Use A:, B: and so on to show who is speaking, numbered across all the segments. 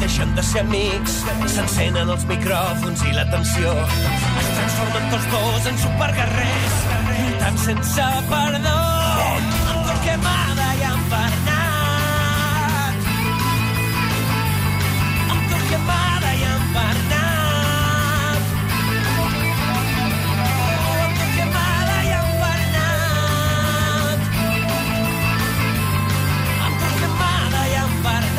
A: deixen de ser amics. S'encenen els micròfons i l'atenció. Es transformen tots dos en superguerrers, lluitant sense perdó. En Torquemada i en Bernat. En Torquemada i en Bernat. En Torquemada i en Bernat. Amb Torquemada i en Bernat.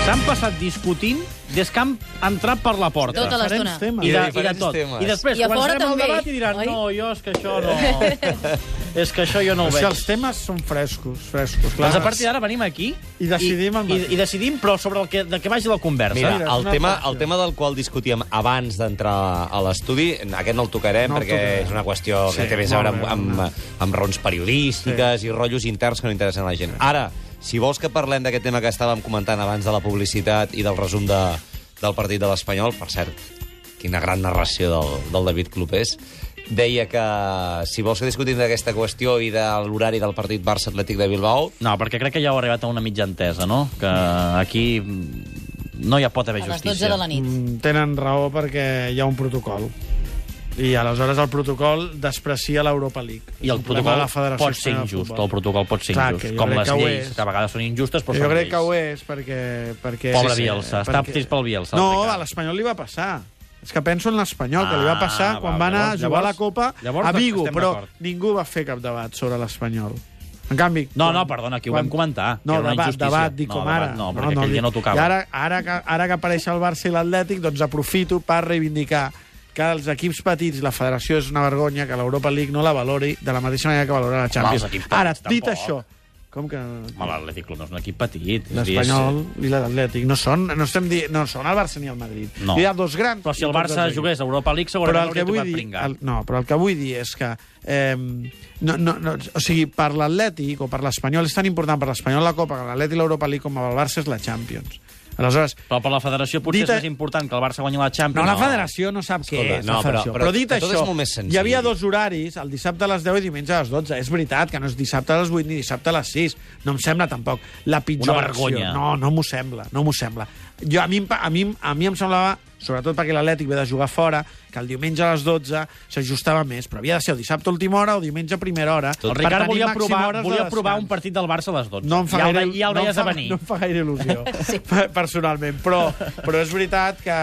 B: S'han passat discutint des que han entrat per la porta.
C: Tota l'estona.
D: temes.
B: I de, i de
D: Diferents
B: tot.
D: temes.
B: I després
C: I a fora
B: començarem el
C: també,
B: debat i diran
C: oi?
B: no, jo és que això no... és que això jo no
D: O
B: ho
D: sigui,
B: veig.
D: els temes són frescos, frescos. Clar.
B: Doncs a partir d'ara venim aquí
D: I decidim el
B: i,
D: matí.
B: i, decidim, però sobre el que, de què vagi la conversa.
E: Mira,
D: Mira, és
E: el,
D: una
E: tema,
D: qüestió.
E: el tema del qual discutíem abans d'entrar a l'estudi, aquest no el tocarem
D: No
E: no
D: el
E: perquè
D: tocarem.
E: és una qüestió que
D: Sí,
E: té més a
D: molt
E: veure amb,
D: bé,
E: amb, amb raons periodístiques sí. i rotllos interns que no interessen a la gent. Ara, si vols que parlem d'aquest tema que estàvem comentant abans de la publicitat i del resum de, del partit de l'Espanyol, per cert, quina gran narració del, del David Clopés, deia que si vols que discutim d'aquesta qüestió i de l'horari del partit Barça-Atlètic de Bilbao,
B: No, perquè crec que ja heu arribat a una mitja entesa, no? Que aquí mm, no hi ha pot haver
C: A les 12
B: justícia.
C: de la nit.
D: Mm, Tenen raó perquè hi ha un protocol. I aleshores el protocol desprecia l'Europa League.
B: I el
D: És un problema de
B: protocol
D: la Federació
B: pot ser
D: Espanyola de
B: injust,
D: Futbol.
B: el protocol pot ser
D: Clar, que
B: injust,
D: jo
B: com
D: crec
B: les
D: que ho
B: lleis,
D: és.
B: que a vegades són injustes, però
D: Jo
B: són
D: crec
B: lleis.
D: que ho és, perquè... perquè
B: Pobre Bielsa, està trist pel Bielsa, el
D: No,
B: Ricard.
D: a l'Espanyol li va passar. És que penso en l'Espanyol, que li va
B: Ah,
D: passar
B: va,
D: quan va anar
B: llavors-
D: a jugar a la
B: llavors-
D: Copa
B: llavors
D: a Vigo,
B: estem
D: però
B: d'acord.
D: ningú va fer cap debat sobre l'Espanyol. En canvi...
B: No,
D: quan-
B: no, perdona, aquí ho vam comentar, que
D: No,
B: era una
D: debat,
B: injustícia.
D: debat, dic
B: No,
D: com
B: debat
D: ara.
B: no, perquè aquell dia no tocava.
D: I ara, ara, que, ara que apareix el Barça i l'Atlètic, doncs aprofito per reivindicar que els equips petits, la federació és una vergonya que l'Europa League no la valori de la mateixa manera que valora la Champions.
B: els equips petits
D: Ara, dit
B: tampoc.
D: això, com que...
B: Home, l'Atlètic Club no és un equip petit. és a dir, és-
D: L'Espanyol i l'Atlètic no són, no estem di... no són el Barça ni el Madrid.
B: No.
D: Hi ha dos grans.
B: Però si el
D: i tots
B: Barça
D: dos
B: jugués a Europa League,
D: però
B: segurament
D: el que
B: hauria
D: vull
B: tocat
D: dir,
B: pringar.
D: el, no, però el que vull dir és que eh, no, no, no, o sigui, per l'Atlètic o per l'Espanyol és tan important per l'Espanyol la Copa que l'Atlètic i l'Europa League com el Barça és la Champions aleshores,
B: Però per la federació potser
D: Dita-
B: és més important que el Barça guanyi la
D: no,
B: Champions.
D: la federació no sap
E: Escolta,
D: què és
E: no,
D: la
E: però-
D: federació.
E: però
D: dit
E: que tot és
D: això,
E: molt més senzill.
D: hi havia dos horaris, el dissabte a les 10 i diumenge a les 12, és veritat que no és dissabte a les 8 ni dissabte a les 6, no em sembla tampoc la pitjor
B: Una vergonya.
D: acció. No, no m'ho sembla, no m'ho sembla. Jo, a, mi, em pa- a, mi, em- a mi em semblava, sobretot perquè l'Atlètic ve de jugar fora, que el diumenge a les 12 s'ajustava més, però havia de ser el dissabte a última hora o diumenge a primera hora.
B: El
D: per
B: Ricard
D: tenir
B: volia
D: màxim hores
B: provar,
D: de
B: volia provar
D: descans.
B: un partit del Barça a les 12.
D: No em fa
B: ja el,
D: gaire,
B: ve- ja el
D: no em
B: veies
D: fa,
B: a venir.
D: No em fa gaire il·lusió, sí. personalment. Però, però és veritat que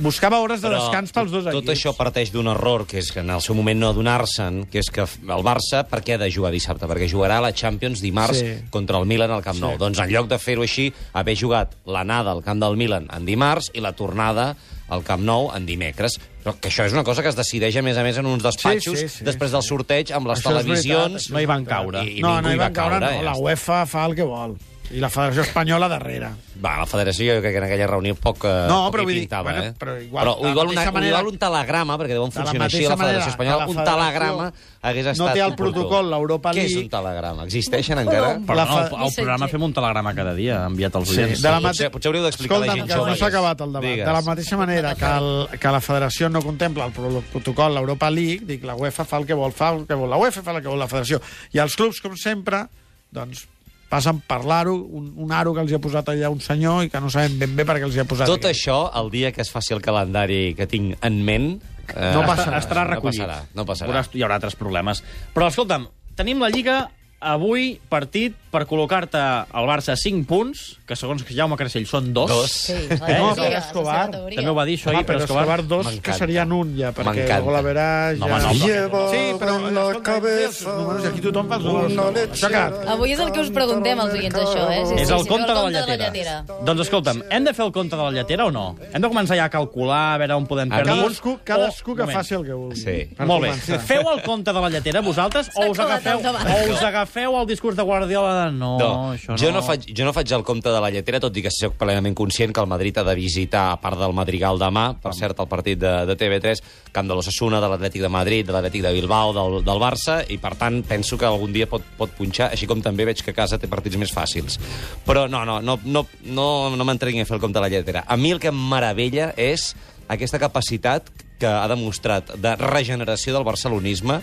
D: buscava hores de
E: Però
D: descans pels dos
E: tot
D: equips.
E: Tot això parteix d'un error, que és que en el seu moment no adonar-se'n, que és que el Barça, per què ha de jugar dissabte? Perquè jugarà a la Champions dimarts
D: Sí.
E: sí. contra el Milan al Camp Nou. Doncs en lloc de fer-ho així, haver jugat l'anada al Camp del Milan en dimarts i la tornada al Camp Nou en dimecres. Però que això és una cosa que es decideix, a més a més, en uns despatxos,
D: sí, sí,
E: després del sorteig, amb les
D: Això és veritat,
E: televisions...
D: això
B: No hi van caure.
E: I, i
D: no,
E: ningú
D: no hi
E: va
D: van caure, no.
E: ja
D: La
E: està.
D: UEFA fa el que vol. I la Federació Espanyola darrere.
E: Va, la federació jo crec que en aquella reunió poc, eh,
D: No,
E: poc
D: però
E: hi
D: vull dir,
E: pintava,
D: bueno,
E: eh?
D: però igual, de
E: però
D: la
E: igual, una,
D: mateixa manera-
E: igual un telegrama, perquè deuen
D: la
E: funcionar així
D: mateixa
E: a la
D: manera
E: Federació
D: que
E: Espanyola, un
D: la Federació
E: telegrama hagués
D: no
E: estat...
D: té el protocol, l'Europa
E: Què és
D: League-
E: un telegrama? Existeixen encara?
B: Però
D: La
B: no, el,
D: fa-
B: el
C: missatger.
B: programa fem un telegrama cada dia, enviat als
D: Sí,
B: oients.
D: de la
E: Potser-
D: mate-
E: potser hauríeu d'explicar a la
D: Escolta'm,
E: gent
D: que
E: jove,
D: no s'ha
E: digues.
D: acabat el debat.
E: Digues.
D: De la mateixa manera que, el, que la Federació no contempla el pro- protocol l'Europa League, dic, la UEFA fa el que vol, fa el que vol la UEFA, fa el que vol la Federació. I els clubs, com sempre, doncs, passen per l'aro, un, un aro que els hi ha posat allà un senyor i que no sabem ben bé per què els hi ha posat
E: Tot
D: aquí.
E: això, el dia que es faci el calendari que tinc en ment... Eh,
D: No passarà.
B: Estarà recollit.
E: No passarà, no passarà.
B: Veuràs, tu, hi haurà altres problemes. Però, escolta'm, tenim la Lliga avui, partit, per col·locar-te al Barça 5 punts, que segons Jaume Creixell són 2.
E: Dos.
C: Sí,
B: Eh? No,
C: no,
D: però Escobar,
B: També ho va dir això ahir,
D: Ah, però Escobar, dos, que
E: M'encanta.
D: serien un ja, perquè
E: M'encanta.
D: la veràs...
B: No,
D: ja...
B: home, no.
D: Sí, però... escolta, números, aquí tothom fa els números. Això ha quedat
C: Avui és el que us preguntem als oients, això, eh? Sí,
B: És
C: sí,
B: el
C: sí,
B: compte de
C: però
B: la
C: el
B: lletera. Doncs escolta'm, hem de fer el compte de la lletera o no? Hem de començar ja a calcular, a veure on podem
E: A
B: perdre.
E: mi-
B: punts,
D: Cadascú, cadascú
B: o-
D: que
B: moment.
D: faci el que vulgui.
E: Sí.
D: per
B: Molt bé.
D: començar.
B: Feu el compte de la lletera vosaltres o
C: S'ha
B: us,
C: acabat el
B: agafeu,
C: debat.
B: o us agafeu el discurs de Guardiola de no,
E: No,
B: això no.
E: jo, no faig, jo no faig el compte de la lletera, tot i que sóc plenament conscient que el Madrid ha de visitar, a part del Madrigal demà, per cert, el partit de, de TV3, Camp de l'Ossassuna, de l'Atlètic de Madrid, de l'Atlètic de Bilbao, del, del Barça, i per tant penso que algun dia pot, pot punxar, així com també veig que a casa té partits més fàcils. Però no, no, no, no, no, no m'entreguin a fer el compte de la lletera. A mi el que em meravella és aquesta capacitat que ha demostrat de regeneració del barcelonisme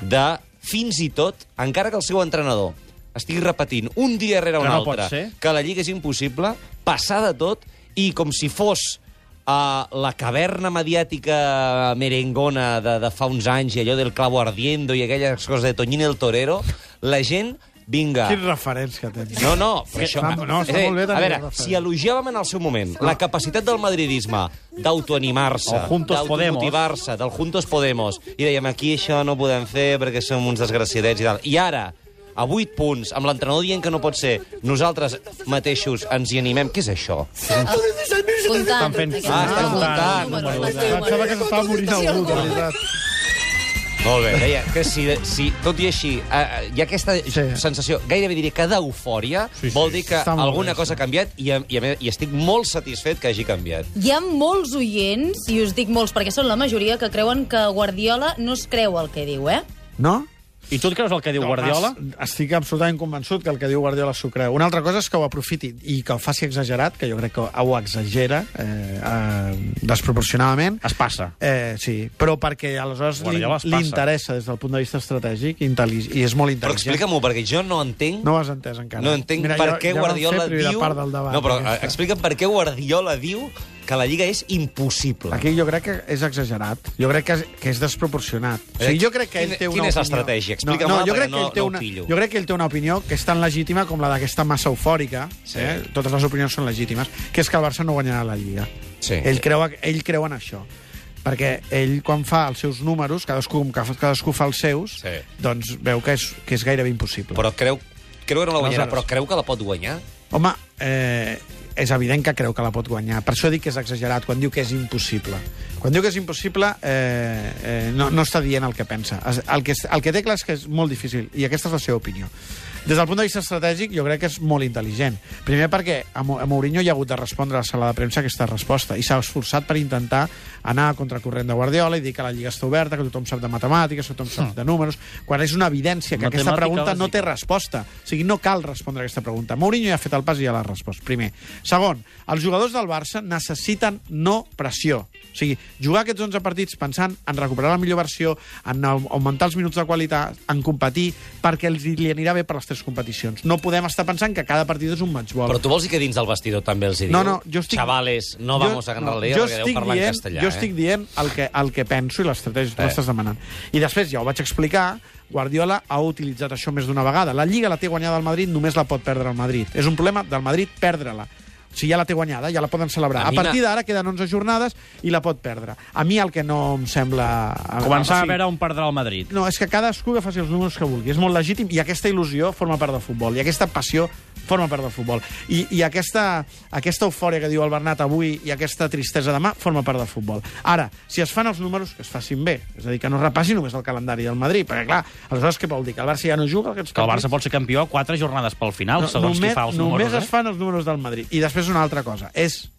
E: de fins i tot, encara que el seu entrenador estigui repetint un dia rere un
B: Que no pot
E: altre
B: ser.
E: que la Lliga és impossible, passar de tot i com si fos a la caverna mediàtica merengona de, de fa uns anys i allò del clavo ardiendo i aquelles coses de Toñín el Torero, la gent, vinga...
D: Quins referents que tens.
E: No, no, però això...
D: va, Ah, no,
E: és
D: està
E: a dir,
D: molt bé Ah.
E: a
D: tenir
E: veure,
D: Rafael.
E: si elogiàvem en el seu moment la capacitat del madridisme d'autoanimar-se,
B: O Juntos
E: d'automotivar-se, del Juntos Podemos, i dèiem, aquí això no ho podem fer perquè som uns desgraciadets i tal. I ara, a 8 punts, amb l'entrenador dient que no pot ser, nosaltres mateixos ens hi animem. Què és això?
C: Comptant.
B: Estan fent-
C: Aquests
E: Ah, estan
C: números,
E: comptant,
C: números,
E: números.
C: números.
D: Pensava que s'estava morint algú, de veritat.
E: Molt bé. Deia que si, si tot i així, eh, hi ha aquesta sí.
D: Sí.
E: sensació, gairebé diria que d'eufòria, sí, sí, vol dir que
D: Està molt
E: alguna
D: bé,
E: cosa ha canviat i, a- i, a més, i estic molt satisfet que hagi canviat.
C: Hi ha molts oients, i us dic molts perquè són la majoria, que creuen que Guardiola no es creu el que diu, eh?
D: No?
B: I tu et creus el que diu
D: No,
B: Guardiola?
D: es- Estic absolutament convençut que el que diu Guardiola s'ho creu. Una altra cosa és que ho aprofiti i que el faci exagerat, que jo crec que ho exagera eh, eh, desproporcionadament.
B: Es passa.
D: Eh, sí, però perquè aleshores li-
B: Guardiola es passa.
D: li interessa des del punt de vista estratègic intel·li- i és molt
E: Però
D: intel·ligent.
E: explica'm-ho, perquè jo no entenc...
D: No ho has entès encara.
E: No entenc
D: Mira,
E: per
D: ja-
E: què
D: ja vam
E: Guardiola
D: fer primera
E: diu...
D: part del debat, eh,
E: no, però eh,
D: aquesta.
E: aquesta. explica'm per què Guardiola diu que la Lliga és impossible.
D: Aquí jo crec que és exagerat. Jo crec que és, que és desproporcionat. O sigui, jo crec que ell
E: Eh, Quina-
D: té una
E: quina és
D: opinió-
E: l'estratègia? Explica-me-la,
D: no, no, jo
E: perquè
D: crec que
E: no-
D: ell té
E: no ho
D: una,
E: pillo.
D: Jo crec que ell té una opinió que és tan legítima com la d'aquesta massa eufòrica.
E: Sí.
D: Sí. Eh? Totes les opinions són legítimes. Que és que el Barça no guanyarà la Lliga.
E: Sí.
D: Ell, creu, ell creu en això. Perquè ell, quan fa els seus números, cadascú, com que fa- cadascú fa els seus,
E: Sí.
D: doncs veu que és, que és gairebé impossible.
E: Però creu, creu que no la guanyarà,
D: Aleshores.
E: però creu que la pot guanyar?
D: Home, eh, és evident que creu que la pot guanyar. Per això dic que és exagerat, quan diu que és impossible. Quan diu que és impossible, eh, eh, no, no està dient el que pensa. Es- El que, es- el que té clar és que és molt difícil, i aquesta és la seva opinió. Des del punt de vista estratègic, jo crec que és molt intel·ligent. Primer perquè a Mo- a Mourinho hi ha hagut de respondre a la sala de premsa aquesta resposta, i s'ha esforçat per intentar anar a contracorrent de Guardiola i dir que la Lliga està oberta, que tothom sap de matemàtiques, que tothom sap de números, quan és una evidència que aquesta
B: Hm. Matemàtica
D: pregunta no té
B: bàsica.
D: resposta. O sigui, no cal respondre a aquesta pregunta. Mourinho ja ha fet el pas i ja l'ha respost, primer. Segon, els jugadors del Barça necessiten no pressió. O sigui, jugar aquests 11 partits pensant en recuperar la millor versió, en au- augmentar els minuts de qualitat, en competir, perquè els li anirà bé per les tres competicions. No podem estar pensant que cada partit és un matchball.
E: Però tu vols dir que dins del vestidor també els hi diu?
D: No, no, jo estic...
E: Chavales, no vamos a ganar la Liga,
D: jo
E: perquè deu
D: estic
E: parlar
D: dient,
E: en castellà,
D: Jo estic dient el que, el que penso i l'estratègia que tu
E: Eh.
D: m'estàs demanant. I després, ja ho vaig explicar, Guardiola ha utilitzat això més d'una vegada. La Lliga la té guanyada al Madrid, només la pot perdre el Madrid. És un problema del Madrid perdre-la. Si ja la té guanyada, ja la poden celebrar.
E: A
D: A,
E: mi
D: a
E: m'ha-
D: partir d'ara queden 11 jornades i la pot perdre. A mi el que no em sembla...
B: Començar
D: o
B: a
D: sigui,
B: veure on perdrà el Madrid.
D: no, és que cadascú que faci els números que vulgui. És molt legítim i aquesta il·lusió forma part del futbol i aquesta passió forma part del futbol. I, i aquesta, aquesta eufòria que diu el Bernat avui i aquesta tristesa demà forma part del futbol. Ara, si es fan els números, que es facin bé. És a dir, que no es repassi només el calendari del Madrid, perquè, clar, aleshores què vol dir? Que el Barça ja no juga aquests
B: Que el Barça
D: partits?
B: pot ser campió a quatre jornades pel final,
D: No,
B: segons qui fa els números. eh?
D: només es fan els números del Madrid. I després una altra cosa. És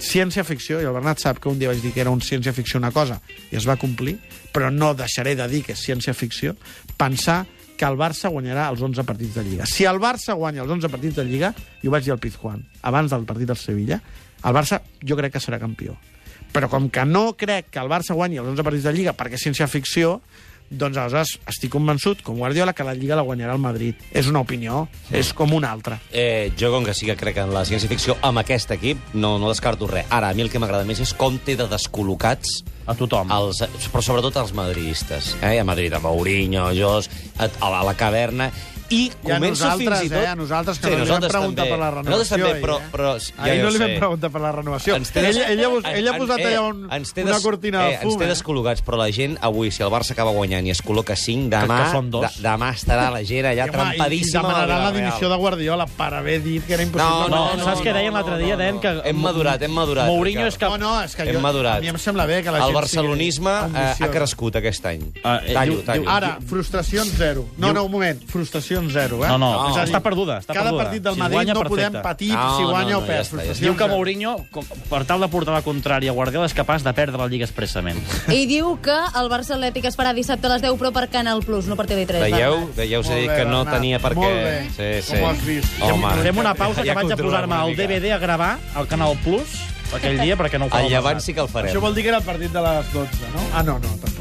D: ciència-ficció, i el Bernat sap que un dia vaig dir que era un ciència-ficció una cosa, i es va complir, però no deixaré de dir que és ciència-ficció, pensar que el Barça guanyarà els 11 partits de Lliga. Si el Barça guanya els 11 partits de Lliga, i ho vaig dir al Pizjuán, abans del partit del Sevilla, el Barça jo crec que serà campió. Però com que no crec que el Barça guanyi els 11 partits de Lliga perquè és ciència-ficció, doncs aleshores estic convençut, com Guardiola, que la Lliga la guanyarà el Madrid. És una opinió, és com una altra.
E: Eh, jo, com que sí que crec en la ciència-ficció, amb aquest equip no, no descarto res. Ara, a mi el que m'agrada més és com té de descol·locats
B: A tothom.
E: els, però sobretot els madridistes. Eh? A Madrid, a Mourinho, a Jos, a, a, la, a la caverna... I
D: I a
E: començo
D: nosaltres,
E: fins i tot...
D: eh, a nosaltres, que no li vam
E: nosaltres
D: preguntar
E: també.
D: per la
E: Nosaltres
D: renovació,
E: també,
D: ell,
E: però...
D: eh?
E: però
D: Ahir
E: ja
D: no
E: ho
D: li vam
E: sé.
D: preguntar per la renovació.
E: Ens té des-
D: Ella, ella,
E: en-
D: ella ha
E: en-
D: posat
E: eh,
D: allà un,
E: ens té
D: una
E: des-
D: cortina de
E: eh, Ens
D: fum.
E: té
D: Eh?
E: descol·locats, però la gent avui, si el Barça acaba guanyant i es col·loca 5, demà,
B: que són dos.
E: de- demà estarà la gent allà
D: I, home, I
E: trampadíssima. amb el
D: demanarà la
E: Villarreal.
D: dimissió de Guardiola per haver dit que era
E: No,
D: impossible.
E: no,
B: No, saps què deien l'altre dia? Deien que-
E: Hem madurat, hem madurat.
B: Mourinho és que-
D: no, no, és que
E: Hem
D: jo,
E: madurat.
D: a mi em sembla bé que la
E: El
D: gent
E: barcelonisme
D: sigui
E: eh, ha
D: ambiciosa.
E: crescut aquest any.
B: Ah, eh,
E: tallo,
B: diu-
E: tallo.
D: Ara, frustració zero. No, no, un moment. Frustració zero, eh?
B: No, no,
E: No.
B: no. està perduda. Està
D: Cada
B: perduda.
D: partit del
B: Si
D: Madrid
B: guanya,
D: no podem
B: perfecte.
D: patir
E: No,
D: si
E: no,
D: guanya
E: no,
D: o
E: ja està,
D: perd.
E: ja està.
D: Frustració
B: Diu que
D: zero.
B: Mourinho, com- per tal de portar la contrària a Guardiola, és capaç de perdre la Lliga expressament.
C: I diu que el Barça Atlètic es farà dissabte a les 10, però per Canal Plus, no per TV3.
E: Veieu? Veieu, s'ha
D: Molt
E: dit
D: bé,
E: que no
D: Bernat,
E: tenia per què...
D: molt bé.
E: Sí, sí.
D: Com ho has vist?
E: Home,
B: Fem una pausa, que
E: ja
B: vaig a
E: controlem
B: posar-me
E: una
B: el
E: mica.
B: DVD a gravar al Canal Plus aquell dia, perquè no ho fa
E: El llevant
B: passat.
E: sí que el farem.
D: Això vol dir que era el partit de les 12, no? Ah, no, no. També.